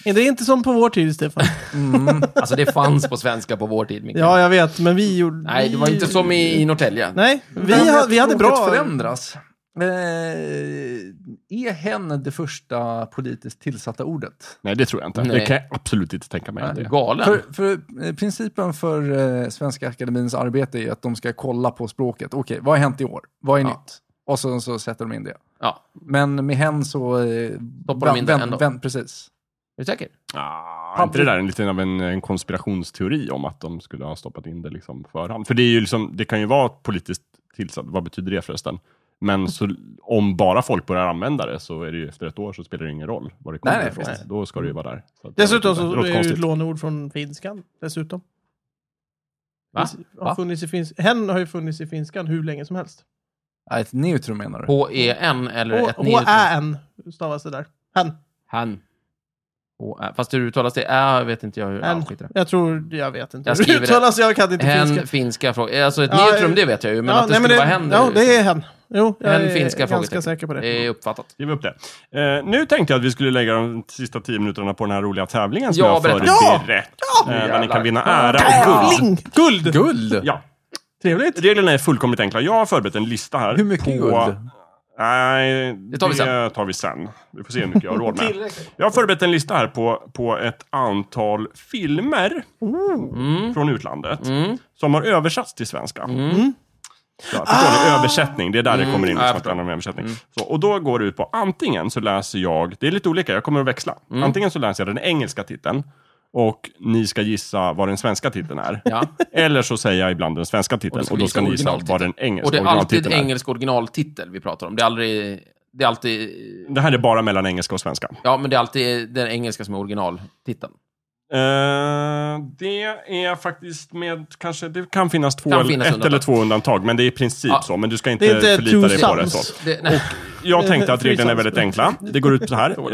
Det är inte som på vår tid, Stefan. [laughs] Mm. Alltså det fanns på svenska på vår tid, Mikael. Ja, jag vet, men vi gjorde... Nej, det var inte som i, i Norrtälje. Nej, vi, Men ha, vi hade språket bra... förändras. Eh, är hen det första politiskt tillsatta ordet? Nej, det tror jag inte. Nej. Det kan jag absolut inte tänka mig. Du är Det. galen. För, för eh, principen för eh, Svenska Akademins arbete är att de ska kolla på språket. Okej, vad har hänt i år? Vad är Ja. nytt? Och så, så sätter de in det. Ja, Men med hen så... Eh, Stoppar de in den ändå? precis. är du säker? Ah, är inte det där en liten av en, en konspirationsteori om att de skulle ha stoppat in det liksom förhand? För det, är ju liksom, det kan ju vara politiskt tillsatt. Vad betyder det förresten? Men så, om bara folk börjar använda det så är det ju efter ett år så spelar det ingen roll var det kommer Nej, nej, ifrån. precis. Då ska det ju vara där. Så att- Dessutom det så låter är det ju konstigt. ett låneord från finskan. Dessutom. Va? Finns- Har Va? funnits i finsk... Hen har ju funnits i finskan hur länge som helst. Ja, ett neutrum menar du? H-E-N E eller ett H- neutrum? H-ä-n stavas det där. Hen. Han. H-ä. Fast hur uttalas det? Ä vet inte jag hur. Hen. Ja, skit i det. Jag tror, jag vet inte Jag hur det skriver det. uttalas. Jag kan inte Hen, finska. finska, fråga. Alltså ett Ja, neutrum, eh, det vet jag ju. Men att det nej, skulle vara hen. det, Ja, det är hen. Jo, jag Hen, är finska ganska frågetecken. säker på det. Det är uppfattat. Skriv upp det. Eh, nu tänkte jag att vi skulle lägga de sista tio minuterna på den här roliga tävlingen som Ja, jag berätta. förberett. Ja! Eh, där ni Jävlar. kan vinna ära och guld. Tävling! Guld! Guld! Ja, Trevligt. reglerna är fullkomligt enkla. Jag har förberett en lista här. Hur mycket på... guld? Nej, det tar vi sen. tar vi sen. Vi får se hur mycket jag har råd med. Jag har förberett en lista här på, på ett antal filmer från utlandet Mm. som har översatts till svenska. Ja, förstår ni? Översättning, det är där det kommer in. Ah. Mm. Liksom, att Ja, jag Mm. det handlar om översättning. Så, och då går det ut på, antingen så läser jag, det är lite olika, jag kommer att växla. Mm. Antingen så läser jag den engelska titeln och ni ska gissa vad den svenska titeln är. Ja. Eller så säger jag ibland den svenska titeln och, ska då vi ska gissa ni gissa vad den originaltiteln. engelska Och det är alltid originaltiteln är. engelsk originaltitel vi pratar om. Det är aldrig... Det är alltid... Det här är bara mellan engelska och svenska. Ja, men det är alltid den engelska som är originaltiteln. Eh, det är faktiskt med, kanske, det kan finnas två, Kan finnas ett undantag. eller två undantag, men det är i princip Ja. så. Men du ska inte, Det är inte förlita two dig på det sons. så. Det, nej. Jag tänkte att Three reglerna är sons. väldigt enkla. [laughs] Det går ut så här. [laughs]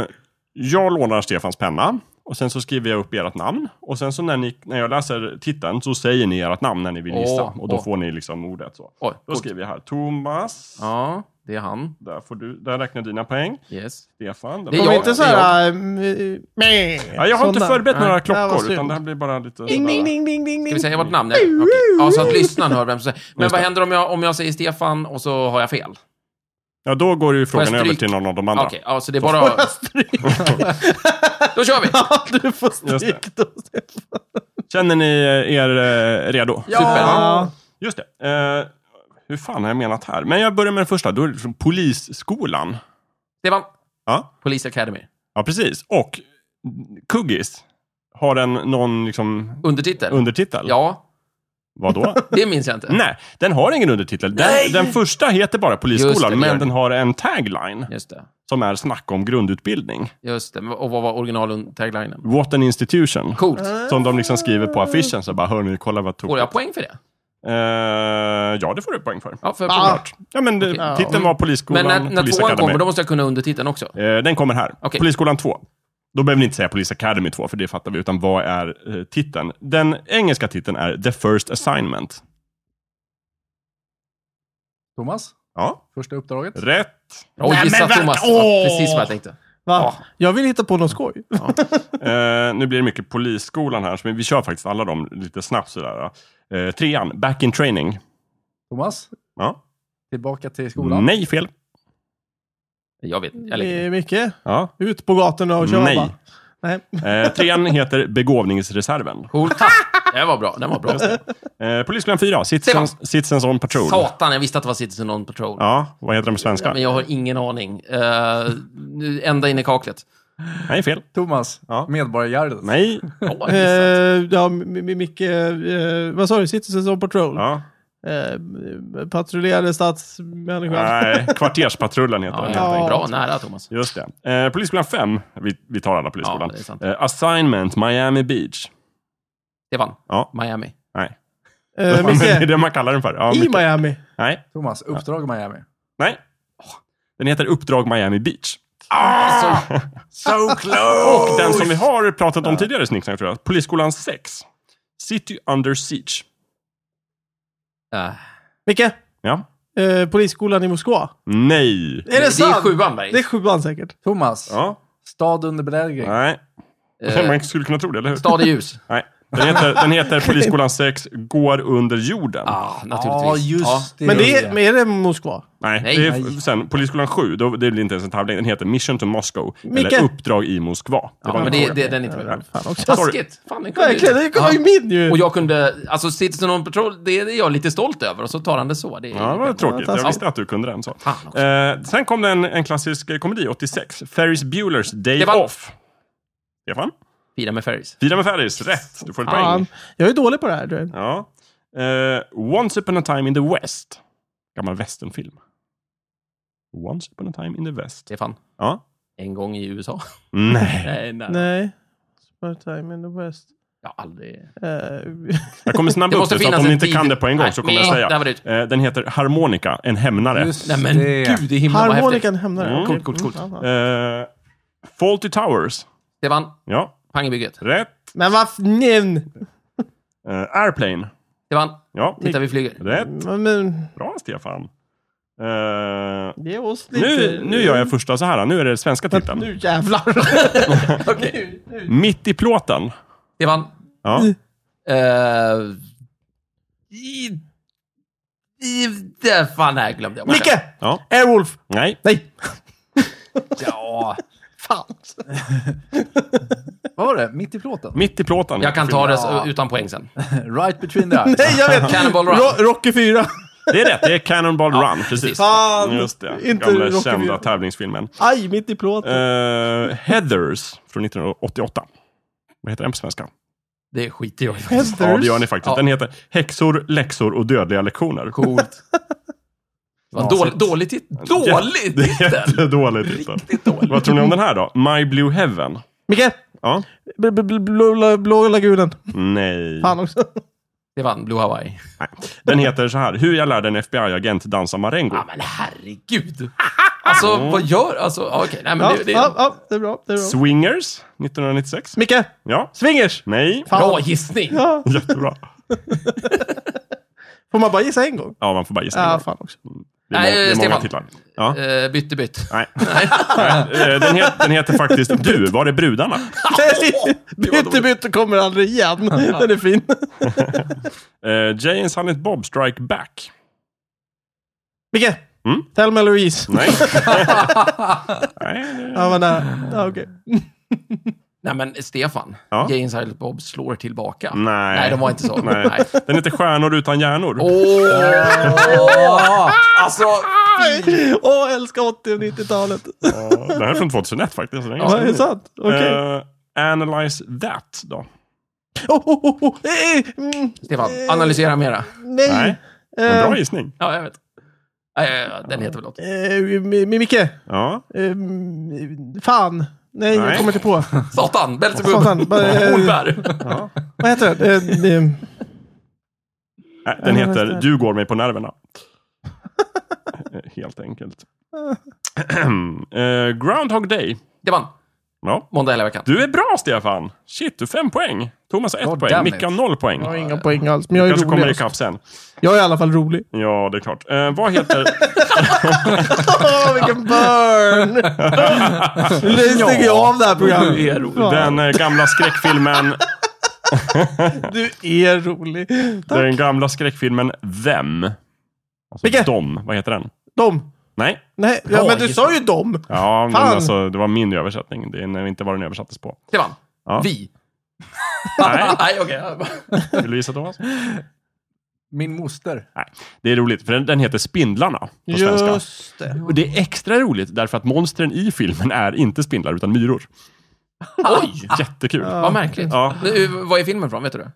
Eh, jag lånar Stefans penna och sen så skriver jag upp ert namn. Och sen så när, ni, när jag läser titeln så säger ni ert namn när ni vill Åh, gissa. och då åh. får ni liksom ordet så. Oj, Då skriver jag här, Thomas. Ja, det är han. Där, får du, där räknar dina poäng. Yes. Stefan. Där Det är får Kom du- jag. inte så här... äh, meh, Ja, jag har inte sådana. förberett några Ja, vad klockor, synd. utan det här blir bara lite... Ding, sådär. ding, ding, ding, ding, [laughs] Ska ding. vi säga vårt namn? Nej. Okej. Ja, så att lyssnaren hör vem som säger. Men vad händer om jag, om jag säger Stefan och så har jag fel? Ja, då går ju frågan jag över stryk? till någon av de Okej, andra. ja, så det är bara... Då kör vi! Ja, du får stryk Just då. Känner ni er eh, redo? Ja. Just det. Eh, hur fan har jag menat här? Men jag börjar med den första. Då är det från Polisskolan. Stefan, Ja. Police Academy. ja, precis. Och Kuggis. Har den någon liksom, Undertitel? undertitel? Ja, Vadå? [laughs] det minns jag inte. Nej, den har ingen undertitel. Den, den första heter bara Just det, Polisskolan, det gör men den. den har en tagline Just det. som är snack om grundutbildning. Just det. Och vad var original-taglinen? What an institution. Coolt. Som de liksom skriver på affischen. Så bara, hörni, kolla vad Får tokigt. jag poäng för det? Eh, ja, det får du poäng för. Ja, för Ah. Klart. Ja, men det, Okej. titeln var Men Polisskolan, när, när Police tvåan Academy. kommer, då måste jag kunna undertiteln också. Eh, den kommer här. Okej. Polisskolan 2. Då behöver ni inte säga Police Academy 2, för det fattar vi, utan vad är eh, titeln? Den engelska titeln är The First Assignment. Thomas, Ja, första uppdraget. rätt. Oj, Nej, gissa men vänta. Thomas. Åh. Ja, precis vad jag tänkte. Va? Jag vill hitta på något skoj. Eh, nu blir det mycket Polisskolan här, så vi kör faktiskt alla dem lite snabbt sådär. Eh, trean, Back in Training. Thomas, Ja. tillbaka till skolan. Nej, fel. Jag vet jag lägger Eh, det. Micke, Ja. ut på gatorna och kör Nej. bara. Nej. Eh, trean heter Begåvningsreserven. Coolt. Det var bra. Den var bra. Eh, Polisskolan 4, Stefan. Citizens, Citizens on Patrol. Satan, jag visste att det var Citizen on Patrol. Ja, vad heter den på svenska? Men jag har ingen aning. Eh, nu ända in i kaklet. Nej, fel. Thomas, Ja. Medborgargardet. Nej. Ja, Eh, gissat. ja, M- M- Micke, eh, vad sa du? Citizens on Patrol? Ja. Eh, patrullerade stadsmänniskan. Nej. Kvarterspatrullen heter den. helt Ja. enkelt. Bra nära, Thomas. Just det. Eh, polisskolan 5. Vi, vi tar alla Ja, Polisskolan. det är sant. eh, assignment Miami Beach. Det vann. Ja. Miami. Nej. Eh, Men det är Micke, det man kallar den för. Ja, i mycket. Miami. Nej. Thomas, Uppdrag Miami. Nej. Den heter Uppdrag Miami Beach. Alltså, So close! Och den som vi har pratat om tidigare, Snicksnack, tror jag. Polisskolan 6. City Under Siege. äh, Micke, Ja. eh, polisskolan i Moskva. Nej. Är det, det är sant? sjuan, Berg. Det är sjuan säkert. Thomas, Ja. Stad under belägring. Nej. Eh, Man skulle kunna tro det, eller hur? Stad i ljus. Nej. Den heter, den [laughs] heter Polisskolan 6, Går under jorden. Ah, naturligtvis. Ja, just det. Men det är, men är det Moskva? Nej, Nej. det är Nej. f- sen Polisskolan 7, då, det blir inte ens en tävling. Den heter Mission to Moscow, Micke. eller Uppdrag i Moskva. Det var Ja, men en det, fråga. det, den är inte med. Fan också. Taskigt. Fan, den [laughs] kunde Verkligen, det kom ju min ju. Och jag kunde, alltså Citizen on Patrol, det är jag lite stolt över. Och så tar han det så. Det är Ja, det var tråkigt. Jag Fantastiskt. visste att du kunde den. Så. Fan också. Eh, sen kom det en, en klassisk eh, komedi, 86. Ferris Bueller's Day Stefan. Off. Stefan? Fira med Ferris. Fira med Ferris, rätt. Du får ett Fan. poäng. Jag är dålig på det här. Du. Ja. Eh, Once upon a time in the West. Gammal westernfilm. Once upon a time in the West. Stefan, [laughs] Ja. Mm. en gång i USA. Nej. Nej, [laughs] nej. Nej. Spare time in the West. Jag har aldrig... Eh, Jag kommer snabba Det upp måste det, så att finnas om ni en inte tid. kan det på en gång Nej, så kommer nej, jag säga. där var det. Eh, den heter Harmonika, en hämnare. Just Nej men det. gud i himlen vad häftigt. Harmonikan hämnare. Mm. Okej. Coolt, coolt, Mm, coolt. fan, fan. Eh, Faulty Towers. Stefan, Ja, pang i bygget. rätt. Men vad... f- nej. Eh, Airplane. Stefan, Ja, titta vi flyger. [laughs] rätt. Men- Men, Bra, Stefan. Eh, ge oss lite... nu, nu gör jag första så här. Nu är det svenska titeln. Nu jävlar. [laughs] Okej. Mitt i plåten. Stefan, Ja. Mm. eh, i, i, det fan, nej, jag glömde jag. Micke! ja. Airwolf! Nej. Nej! Ja, Fan! Vad var det? Mitt i plåten? Mitt i plåten. jag kan ta det Ja. så- utan poäng sen. Right between the eyes. Nej, jag vet! Cannonball Run. Ro- Rocky 4. Det är rätt. Det är Cannonball Run. Precis. Fan! Just det. Inte Gamla Rocky kända Run. tävlingsfilmen. Aj, mitt i plåten. Eh, Heathers från 1988. Vad heter den på svenska? Det skiter jag i. Ja, Heathers. det gör ni faktiskt. Ja. Den heter Häxor, läxor och dödliga lektioner. [laughs] Coolt. Det var en dålig, dålig titel. Dålig titel! Jättedålig titel. Riktigt dålig. Vad tror ni om den här då? My Blue Heaven? Micke! Ja. Bl- bl- bl- Blå blå lagunen. Nej. Fan också. Det vann Blue Hawaii. Nej. Den heter så här. Hur jag lärde en FBI-agent dansa marengo. Ja, men herregud. Alltså, vad gör... Alltså, ja, okej. nej, men Ja, det, det ja, är ja, det är bra. Det är bra. Swingers 1996. Micke! Ja. Swingers! Nej. Fan. bra gissning. Ja. [laughs] Jättebra. Får man bara gissa en gång? Ja, man får bara gissa. Ja, fan [laughs] också. Det är, Nej, må- det är många Stefan. titlar. Ja. Eh, bytte bytt. Nej. Nej. Eh, Den, het, den heter faktiskt Du, var är [laughs] brudarna? Bytte bytte kommer aldrig igen. [laughs] Den är fin. Eh, Jay and Silent Bob Strike Back. Micke! Mm. Tell me Louise. [laughs] Nej. Nej. det- Ja, men där. [laughs] Ja, okej. Nej, men Stefan. Ja. Jane Silent Bob slår tillbaka. Nej. Nej, de var inte så. [laughs] Nej. Nej. Den heter Stjärnor utan hjärnor. Åh! Alltså, Åh, älskar 80 och 90-talet. Ja, Den här är från 2001 faktiskt. så den är Ja, ganska är ny. det sant? Okej. Eh, analyze that då. Oh, oh, oh, oh. Eh, eh, mm, Stefan, analysera mera. Nej, nej. men Eh, bra gissning. Ja, jag vet. Nej, ja, ja, Den heter väl något. eh, Mi- Mi- Micke. Ja. Eh, mm, fan. Nej, Nej. jag kommer inte på. Satan, Belzebub, Satan. [laughs] Bara, eh, Hornberg. vad heter den? Eh, eh, Nej, Den Analyze heter that. Du går mig på nerverna. Eh, Helt enkelt. Eh, Groundhog Day. Det vann. Ja. Måndag hela veckan. Du är bra Stefan! Shit, du har fem poäng. Thomas har ett God poäng, damn Micke har it. noll poäng. Jag har inga poäng alls, men jag är Kanske kommer rolig. ikapp sen. Jag är i alla fall rolig. [laughs] Ja, det är klart. Eh, vad heter... Åh, vilken burn! [laughs] Nu stänger jag av det här programmet. Du är rolig. Fan, Den eh, gamla skräckfilmen... Du är rolig. Tack. den gamla skräckfilmen Them. Alltså, Vilken? Dom. Vad heter den? Dem. Nej. Nej, ja, Ja, men du just sa ju dem. Ja, men Fan. alltså, det var min översättning. Det är inte vad den översattes på. Det vann. Ja. Vi. Nej, [laughs] Nej, okej. [laughs] vill du visa Thomas? Min moster. Nej, det är roligt, för den, den heter Spindlarna på svenska. Just det. Och det är extra roligt därför att monstren i filmen är inte spindlar utan myror. Oj! Jättekul. Vad märkligt. Ja. Nu, Vad är filmen från, vet du det?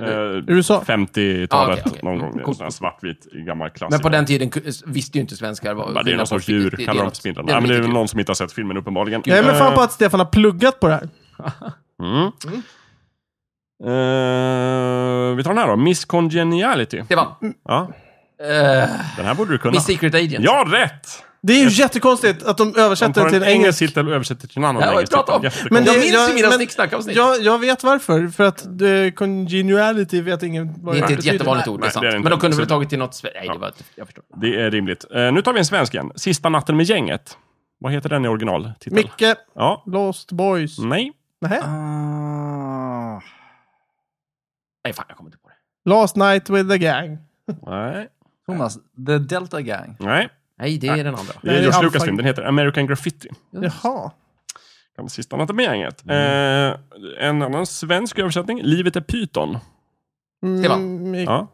Eh, USA. 50-talet Ah, okej, okej. någon gång. En Coolt. sån här svartvit gammal klassiker. Men på den tiden ku- visste ju inte svenskar vad Bara, Alltså- det är någon skillnad på sorts fi- djur, det- det är kallar de något- för spindlar. det är Nej, men det är något väl riktigt någon som inte har sett filmen uppenbarligen. Jag är men fan Eh, på att Stefan har pluggat på det här. mm. Eh, vi tar den här då. Miss Congeniality. djur. Stefan, Ja, eh, den här borde du kunna. Miss Secret Agent. Ja, rätt! Det är ju jättekonstigt att de De översätter tar det en till engelsk, en engelsk. titel och översätter till en annan Det här har vi engelsk pratat om. Jättekonstigt. Men Jag det- minns jag- ju mina men- snicksnackavsnitt. Jag, jag vet varför, för att eh, congeniality vet ingen vad Det är inte ett betyder. jättevanligt ord, det Nej, är sant. det är det inte. men de kunde Så- väl tagit till något... sve- Nej, det var... Jag förstår. Det är rimligt. Eh, nu tar vi en svensk igen. Sista natten med gänget. Vad heter den i originaltitel? Micke, Ja. Lost Boys. Mm. Nej. Nej. Ah. Nej, fan, jag kommer inte på det. Last Night with the Gang. Nej. Thomas, The Delta Gang. Nej. Nej, det är den andra. Det är Nej, George han- Lucas film. Den heter American Graffiti. Mm. Jaha. Kan sista natten med gänget. Eh, en annan svensk översättning. Livet är pyton. Stefan. Mm, Micke. Ja.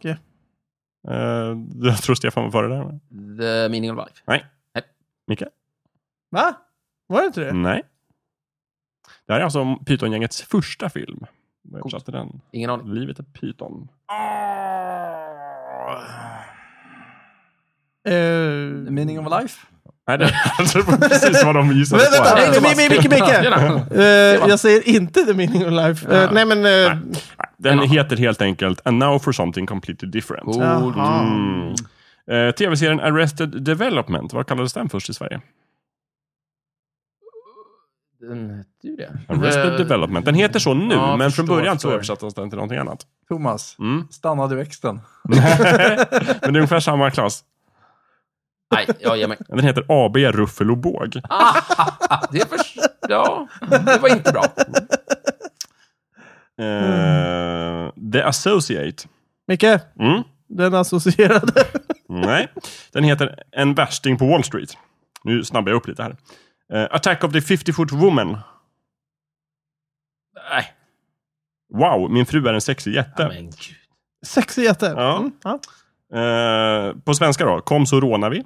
Eh, jag tror Stefan var före där. The Meaning of Life. Micke? Va? Var det inte det? Nej. Det här är alltså Pytongängets första film. Vad översatte den? Ingen aning. Livet är pyton. Eh, The Meaning of Life. Nej, [laughs] det, alltså, det var precis vad de gissade Men vänta, på. här. nej, Thomas. Micke, Micke, Micke. Tjena. eh, jag säger inte The Meaning of Life. Eh, nej, men... eh, Den Ja. heter helt enkelt And now for something completely different. Cool. jaha. Mm. Eh, Tv-serien Arrested Development, vad kallades den först i Sverige? Den hette ju det. Arrested Eh, Development. Den heter så nu, ja, men förstår, från början så förstår. översattes den till någonting annat. Thomas, Mm. stanna du växten. men det är ungefär samma klass. Nej, jag ger mig. Den heter AB Ruffel och Båg. Ah, det, är för... ja, det var inte bra. Ah. Eh, The Associate. Micke, Mm. den associerade. [laughs] Nej, den heter En värsting på Wall Street. Nu snabbar jag upp lite här. Eh, Attack of the 50-foot woman. Nej, Wow, min fru är en sexig jätte. men gud. Sexig jätte. Ja. Mm, ja. Eh, på svenska då, Kom så rånar vi.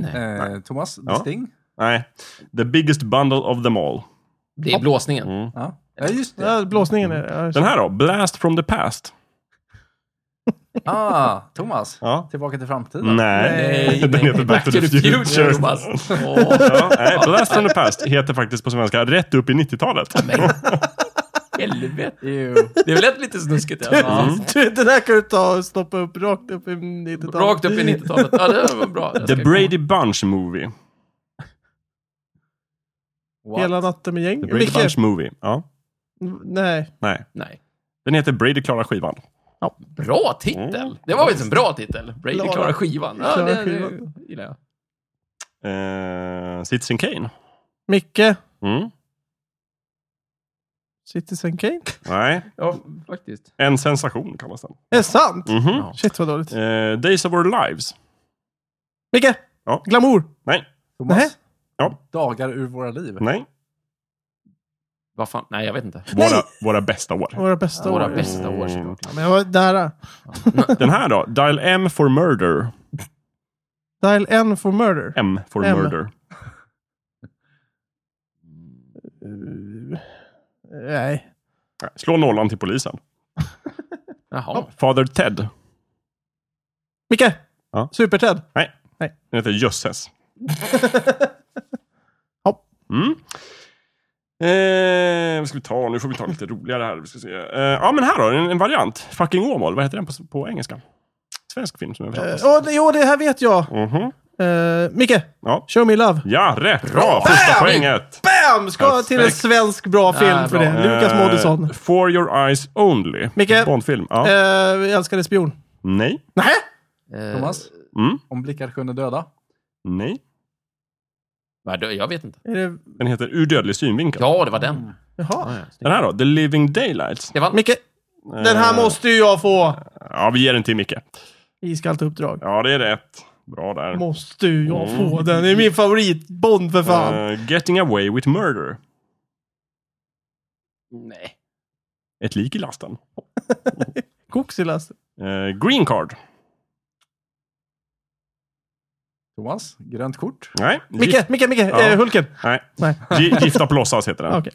Nej. Eh, Thomas, The Ja. Mm. Sting. Nej, The biggest bundle of them all. Det är blåsningen. Mm. Ja. ja, just det. Ja, blåsningen är det. Den Ja, här då, Blast from the past. Ah, Thomas, Ja. tillbaka till framtiden. Nej, [laughs] den heter Back to the future. Thomas. Åh, Ja, nej, Blast from the past heter faktiskt på svenska rätt upp i 90-talet. men helvete. Ew. Det lät lite snuskigt. Ja. Mm. Du, [laughs] den här kan du ta och stoppa upp rakt upp i 90-talet. Rakt upp i 90-talet. Ja, det var bra. Jag The ska Brady Bunch Movie. What? Hela natten med The gäng. Brady Micke. Bunch Movie. Ja, Nej. nej. Nej. Den heter Brady klarar skivan. Bra titel! Det var visst en bra titel. Brady Klara. klarar skivan. Ja, Klara det, det skivan. gillar jag. Eh, Citizen Kane. Micke. Mm. Citizen Kane. Nej, Ja, faktiskt. En sensation kallas den. Är det sant? Mhm. Ja. Shit vad dåligt. Eh, Days of Our Lives. Micke. Ja. Glamour. Nej, Thomas, Nej. Ja. dagar ur våra liv. nej. Vad fan? Nej, jag vet inte. Våra, Nej. våra bästa år. Våra bästa Våra år. bästa år såklart. Ja, men jag var äh, nära. Den här då? Dial M for murder. Dial N for murder. M for M. murder. Nej. Nej, Slå nollan till polisen. Jaha. Father Ted. Micke. Ja. Super-Ted. Nej. Nej. Den heter [laughs] Jösses. Ja. Mm. Eh, vad ska vi ta? Nu får vi ta lite roligare här. Vi ska se. Eh, ja, men här då. En, en variant. Fucking Åmål. Vad heter den på, på engelska? Svensk film som Eh, översattes. åh, det- Jo, det här vet jag. Mhm. Eh, Micke. Ja. Show me love. ja, rätt. Bra! Första poänget. Bam! Ska Perfekt. till en svensk bra film Ja, för bra. det. Lukas Eh, Moodysson. For your eyes only. Micke? Bondfilm. Ja. Eh, älskade spion. Nej. Nej. Eh, Thomas, Mm. om blickar kunde döda. Nej. vad då? Jag vet inte. Är det... Den heter Ur dödlig synvinkel. Ja, det var den. Jaha. Ja, ja, snyggt. Den här då? The Living Daylights. Stefan? Micke. Den här Eh, måste ju jag få. Ja, vi ger den till Micke. Iskallt uppdrag. Ja, det är rätt. Bra där. Måste ju jag Eh. Mm. få den. Det är min favoritbond för fan. Eh, getting away with murder. Nej. Ett lik i lasten. Koksi läste. Eh, green card. Thomas, grönt kort. Nej. Micke, Gift- Micke, Micke! Ja. Eh, Hulken! Nej. Nej. [laughs] Gi- Gifta på låtsas heter den. Okej.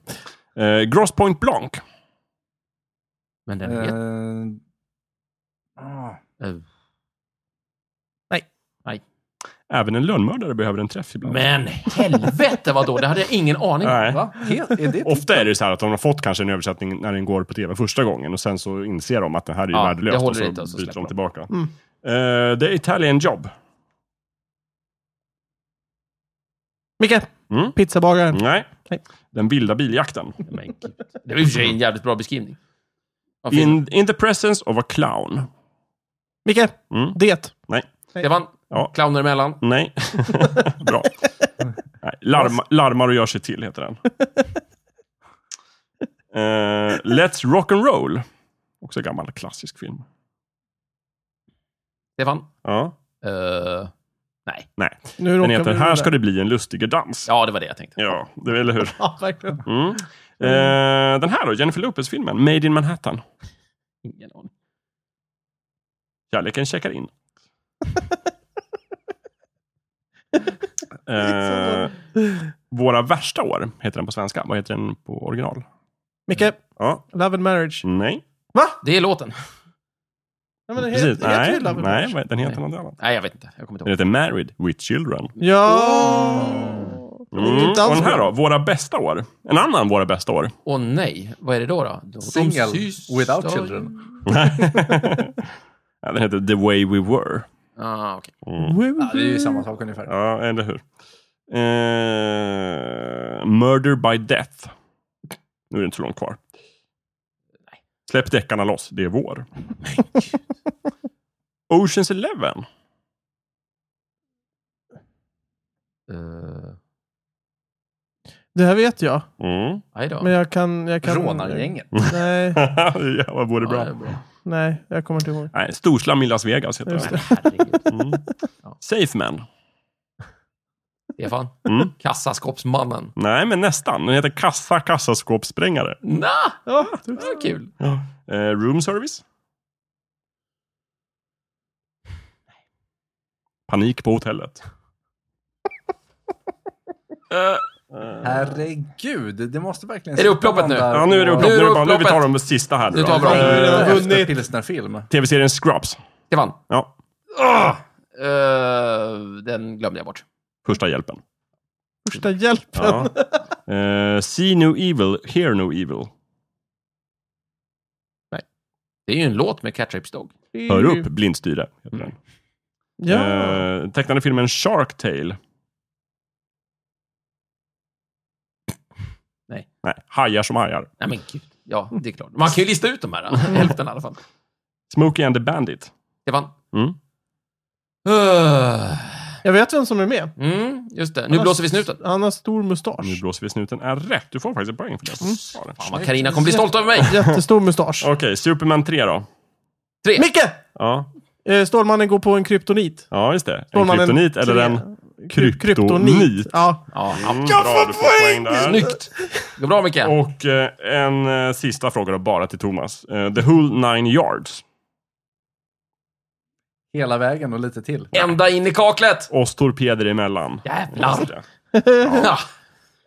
Eh, Gross Point Blanc. Men den är jätte- Eh, ah, eh, Även en lönnmördare behöver en träff ibland. Men helvete vad då? Det hade jag ingen aning om. Nej. va? Helt, är det Ofta är det så här att de har fått kanske en översättning när den går på tv första gången och sen så inser de att det här är ju Ja, jag värdelöst håller och så, inte och så byter släpper de de. tillbaka. Mm. Eh, the Italian Job. Micke! Mm. Pizzabagaren. Nej. Nej. Den vilda biljakten. Men gud. Det var i och för sig en jävligt bra beskrivning. Vad fint. In, in the presence of a clown. Micke! Mm. Det. Det var en Ja. clowner emellan. Nej. [laughs] Bra. Nej. Larma, larmar och gör sig till heter den. Eh, Let's Rock and Roll. Också en gammal klassisk film. Stefan? Ja. Eh, nej. Nu Den råkar heter vi Här rulla. ska det bli en lustiger dans. Ja, det var det jag tänkte. Ja, det, eller hur? Ja, verkligen. Mm. Eh, den här då, Jennifer Lopez-filmen, Made in Manhattan. Ingen aning. Kärleken checkar [laughs] in. eh, våra värsta år heter den på svenska. Vad heter den på original? Micke! Ja, Love and marriage. nej. Det är låten. Ja, men det Precis. heter- heter Nej, ju Love nej, and marriage. vad- den heter Nej. något annat. Nej, jag vet inte. Jag kommer inte Den ihåg. heter Married with Children. Ja! Mm. Och den här då, Våra bästa år. En annan Våra bästa [laughs] år. [laughs] Åh nej, vad är det då? då? De Single sys- without ja, children. Ja, den heter The Way We Were. Ah, okej. Ja, det är ju samma sak ungefär. Ja, eller hur? Eh, murder by Death. Nu är det inte så långt kvar. Släpp deckarna loss, det är vår. Oceans Eleven. Eh, Det här vet jag. Mm. [laughs] Aj då. Men jag kan... Jag kan Rånargänget. Nej, ja, vad vore Ja, bra. det är bra. nej, jag kommer inte ihåg. Nej, Storslam i Las Vegas heter Just det. Men herregud. Mm. Ja. Safe Man. Stefan? Mm. Kassaskåpsmannen. Nej, men nästan. Den heter Kassa kassaskåpssprängare. Nah, Ja, det var kul. Eh, room Service. Panik på hotellet. Eh, Herregud, det måste verkligen... Är det upploppet nu? Ja, nu är det upplopp. Nu Nu, är är det bara, nu vi tar upploppet. de sista här. Nu tar vi då. dem. Eh, Jag har Vunnit! vunnit. Pilsnerfilm. Tv-serien Scrubs. Stefan? Ja, Ah! Eh, den glömde jag bort. första hjälpen. Första hjälpen. Ja. Eh, see no evil, hear no evil. Det är ju en låt med Cat Rapes Dog. Hör upp, blindstyre. heter den. Mm. Ja. Eh, tecknade filmen Shark Tale. Nej. Nej, hajar som hajar. Nej men gud. Ja, det är klart. Man kan ju lista ut de här. Hälften i alla fall. Smokey and the Bandit. Stefan? Mm. Eh, Jag vet vem som är med. Mm, just det. Han Nu har- blåser vi snuten. Han har stor Nu mustasch. blåser vi snuten är rätt. Du får faktiskt en poäng för det. som svarar. Fan vad Carina kommer bli stolt över Mm. mig. Jättestor mustasch. Okej, Superman 3 då. Tre. Micke! [laughs] Ja, Eh, Stålmannen går på en kryptonit. ja just det. En Stålmannen kryptonit eller tre. en kryptonit. Ja. Ja, Mm, jag får poäng! där. Snyggt! Det går bra, Micke. Och eh, en eh, sista fråga då, bara till Thomas. Eh, the whole nine yards. Hela vägen och lite till. Ända in i kaklet! Oss torpeder emellan. Just Jävlar! det. Ja.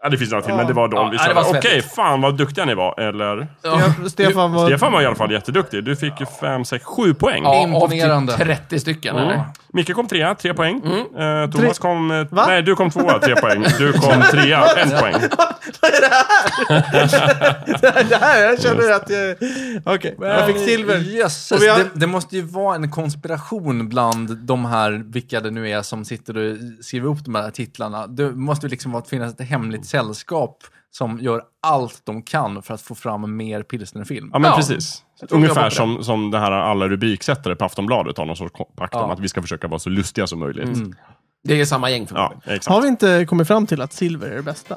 Ja, det finns några till, men det var de Ja, vi ja, det var sa. Okej, svettigt. fan vad duktiga ni var. Eller? Ja. Ste- [laughs] Stefan var... Stefan var i alla fall jätteduktig. Du fick ju fem, sex, sju poäng. Ja, av Imponerande. typ 30 stycken, eller? Micke kom trea, tre poäng. Eh, Thomas kom... eh, Va? Nej, du kom tvåa, tre poäng. Du kom trea, en poäng. Det här, jag känner att jag... Okej, jag fick silver. Eh, Jösses, Och vi har- det, det måste ju vara en konspiration bland de här, vilka det nu är som sitter och skriver upp de här titlarna. Det måste ju liksom vara, finnas ett hemligt sällskap som gör allt de kan för att få fram mer pilsnerfilm. Ja, men Ja. precis. tror jag var Ungefär på som, som det här alla rubriksättare på Aftonbladet har någon sorts ko- pakt om Ja. att vi ska försöka vara så lustiga som möjligt. Det är samma gäng för mig. Ja, exakt. Har vi inte kommit fram till att silver är det bästa?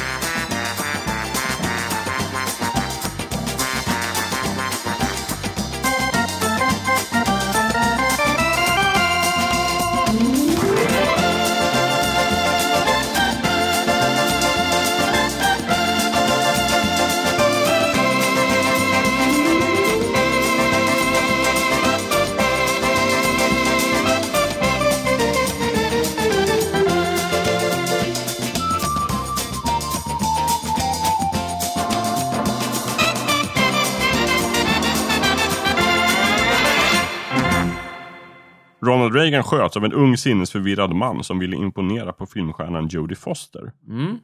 Ronald Reagan sköts av en ung sinnesförvirrad man som ville imponera på filmstjärnan Jodie Foster. Mm.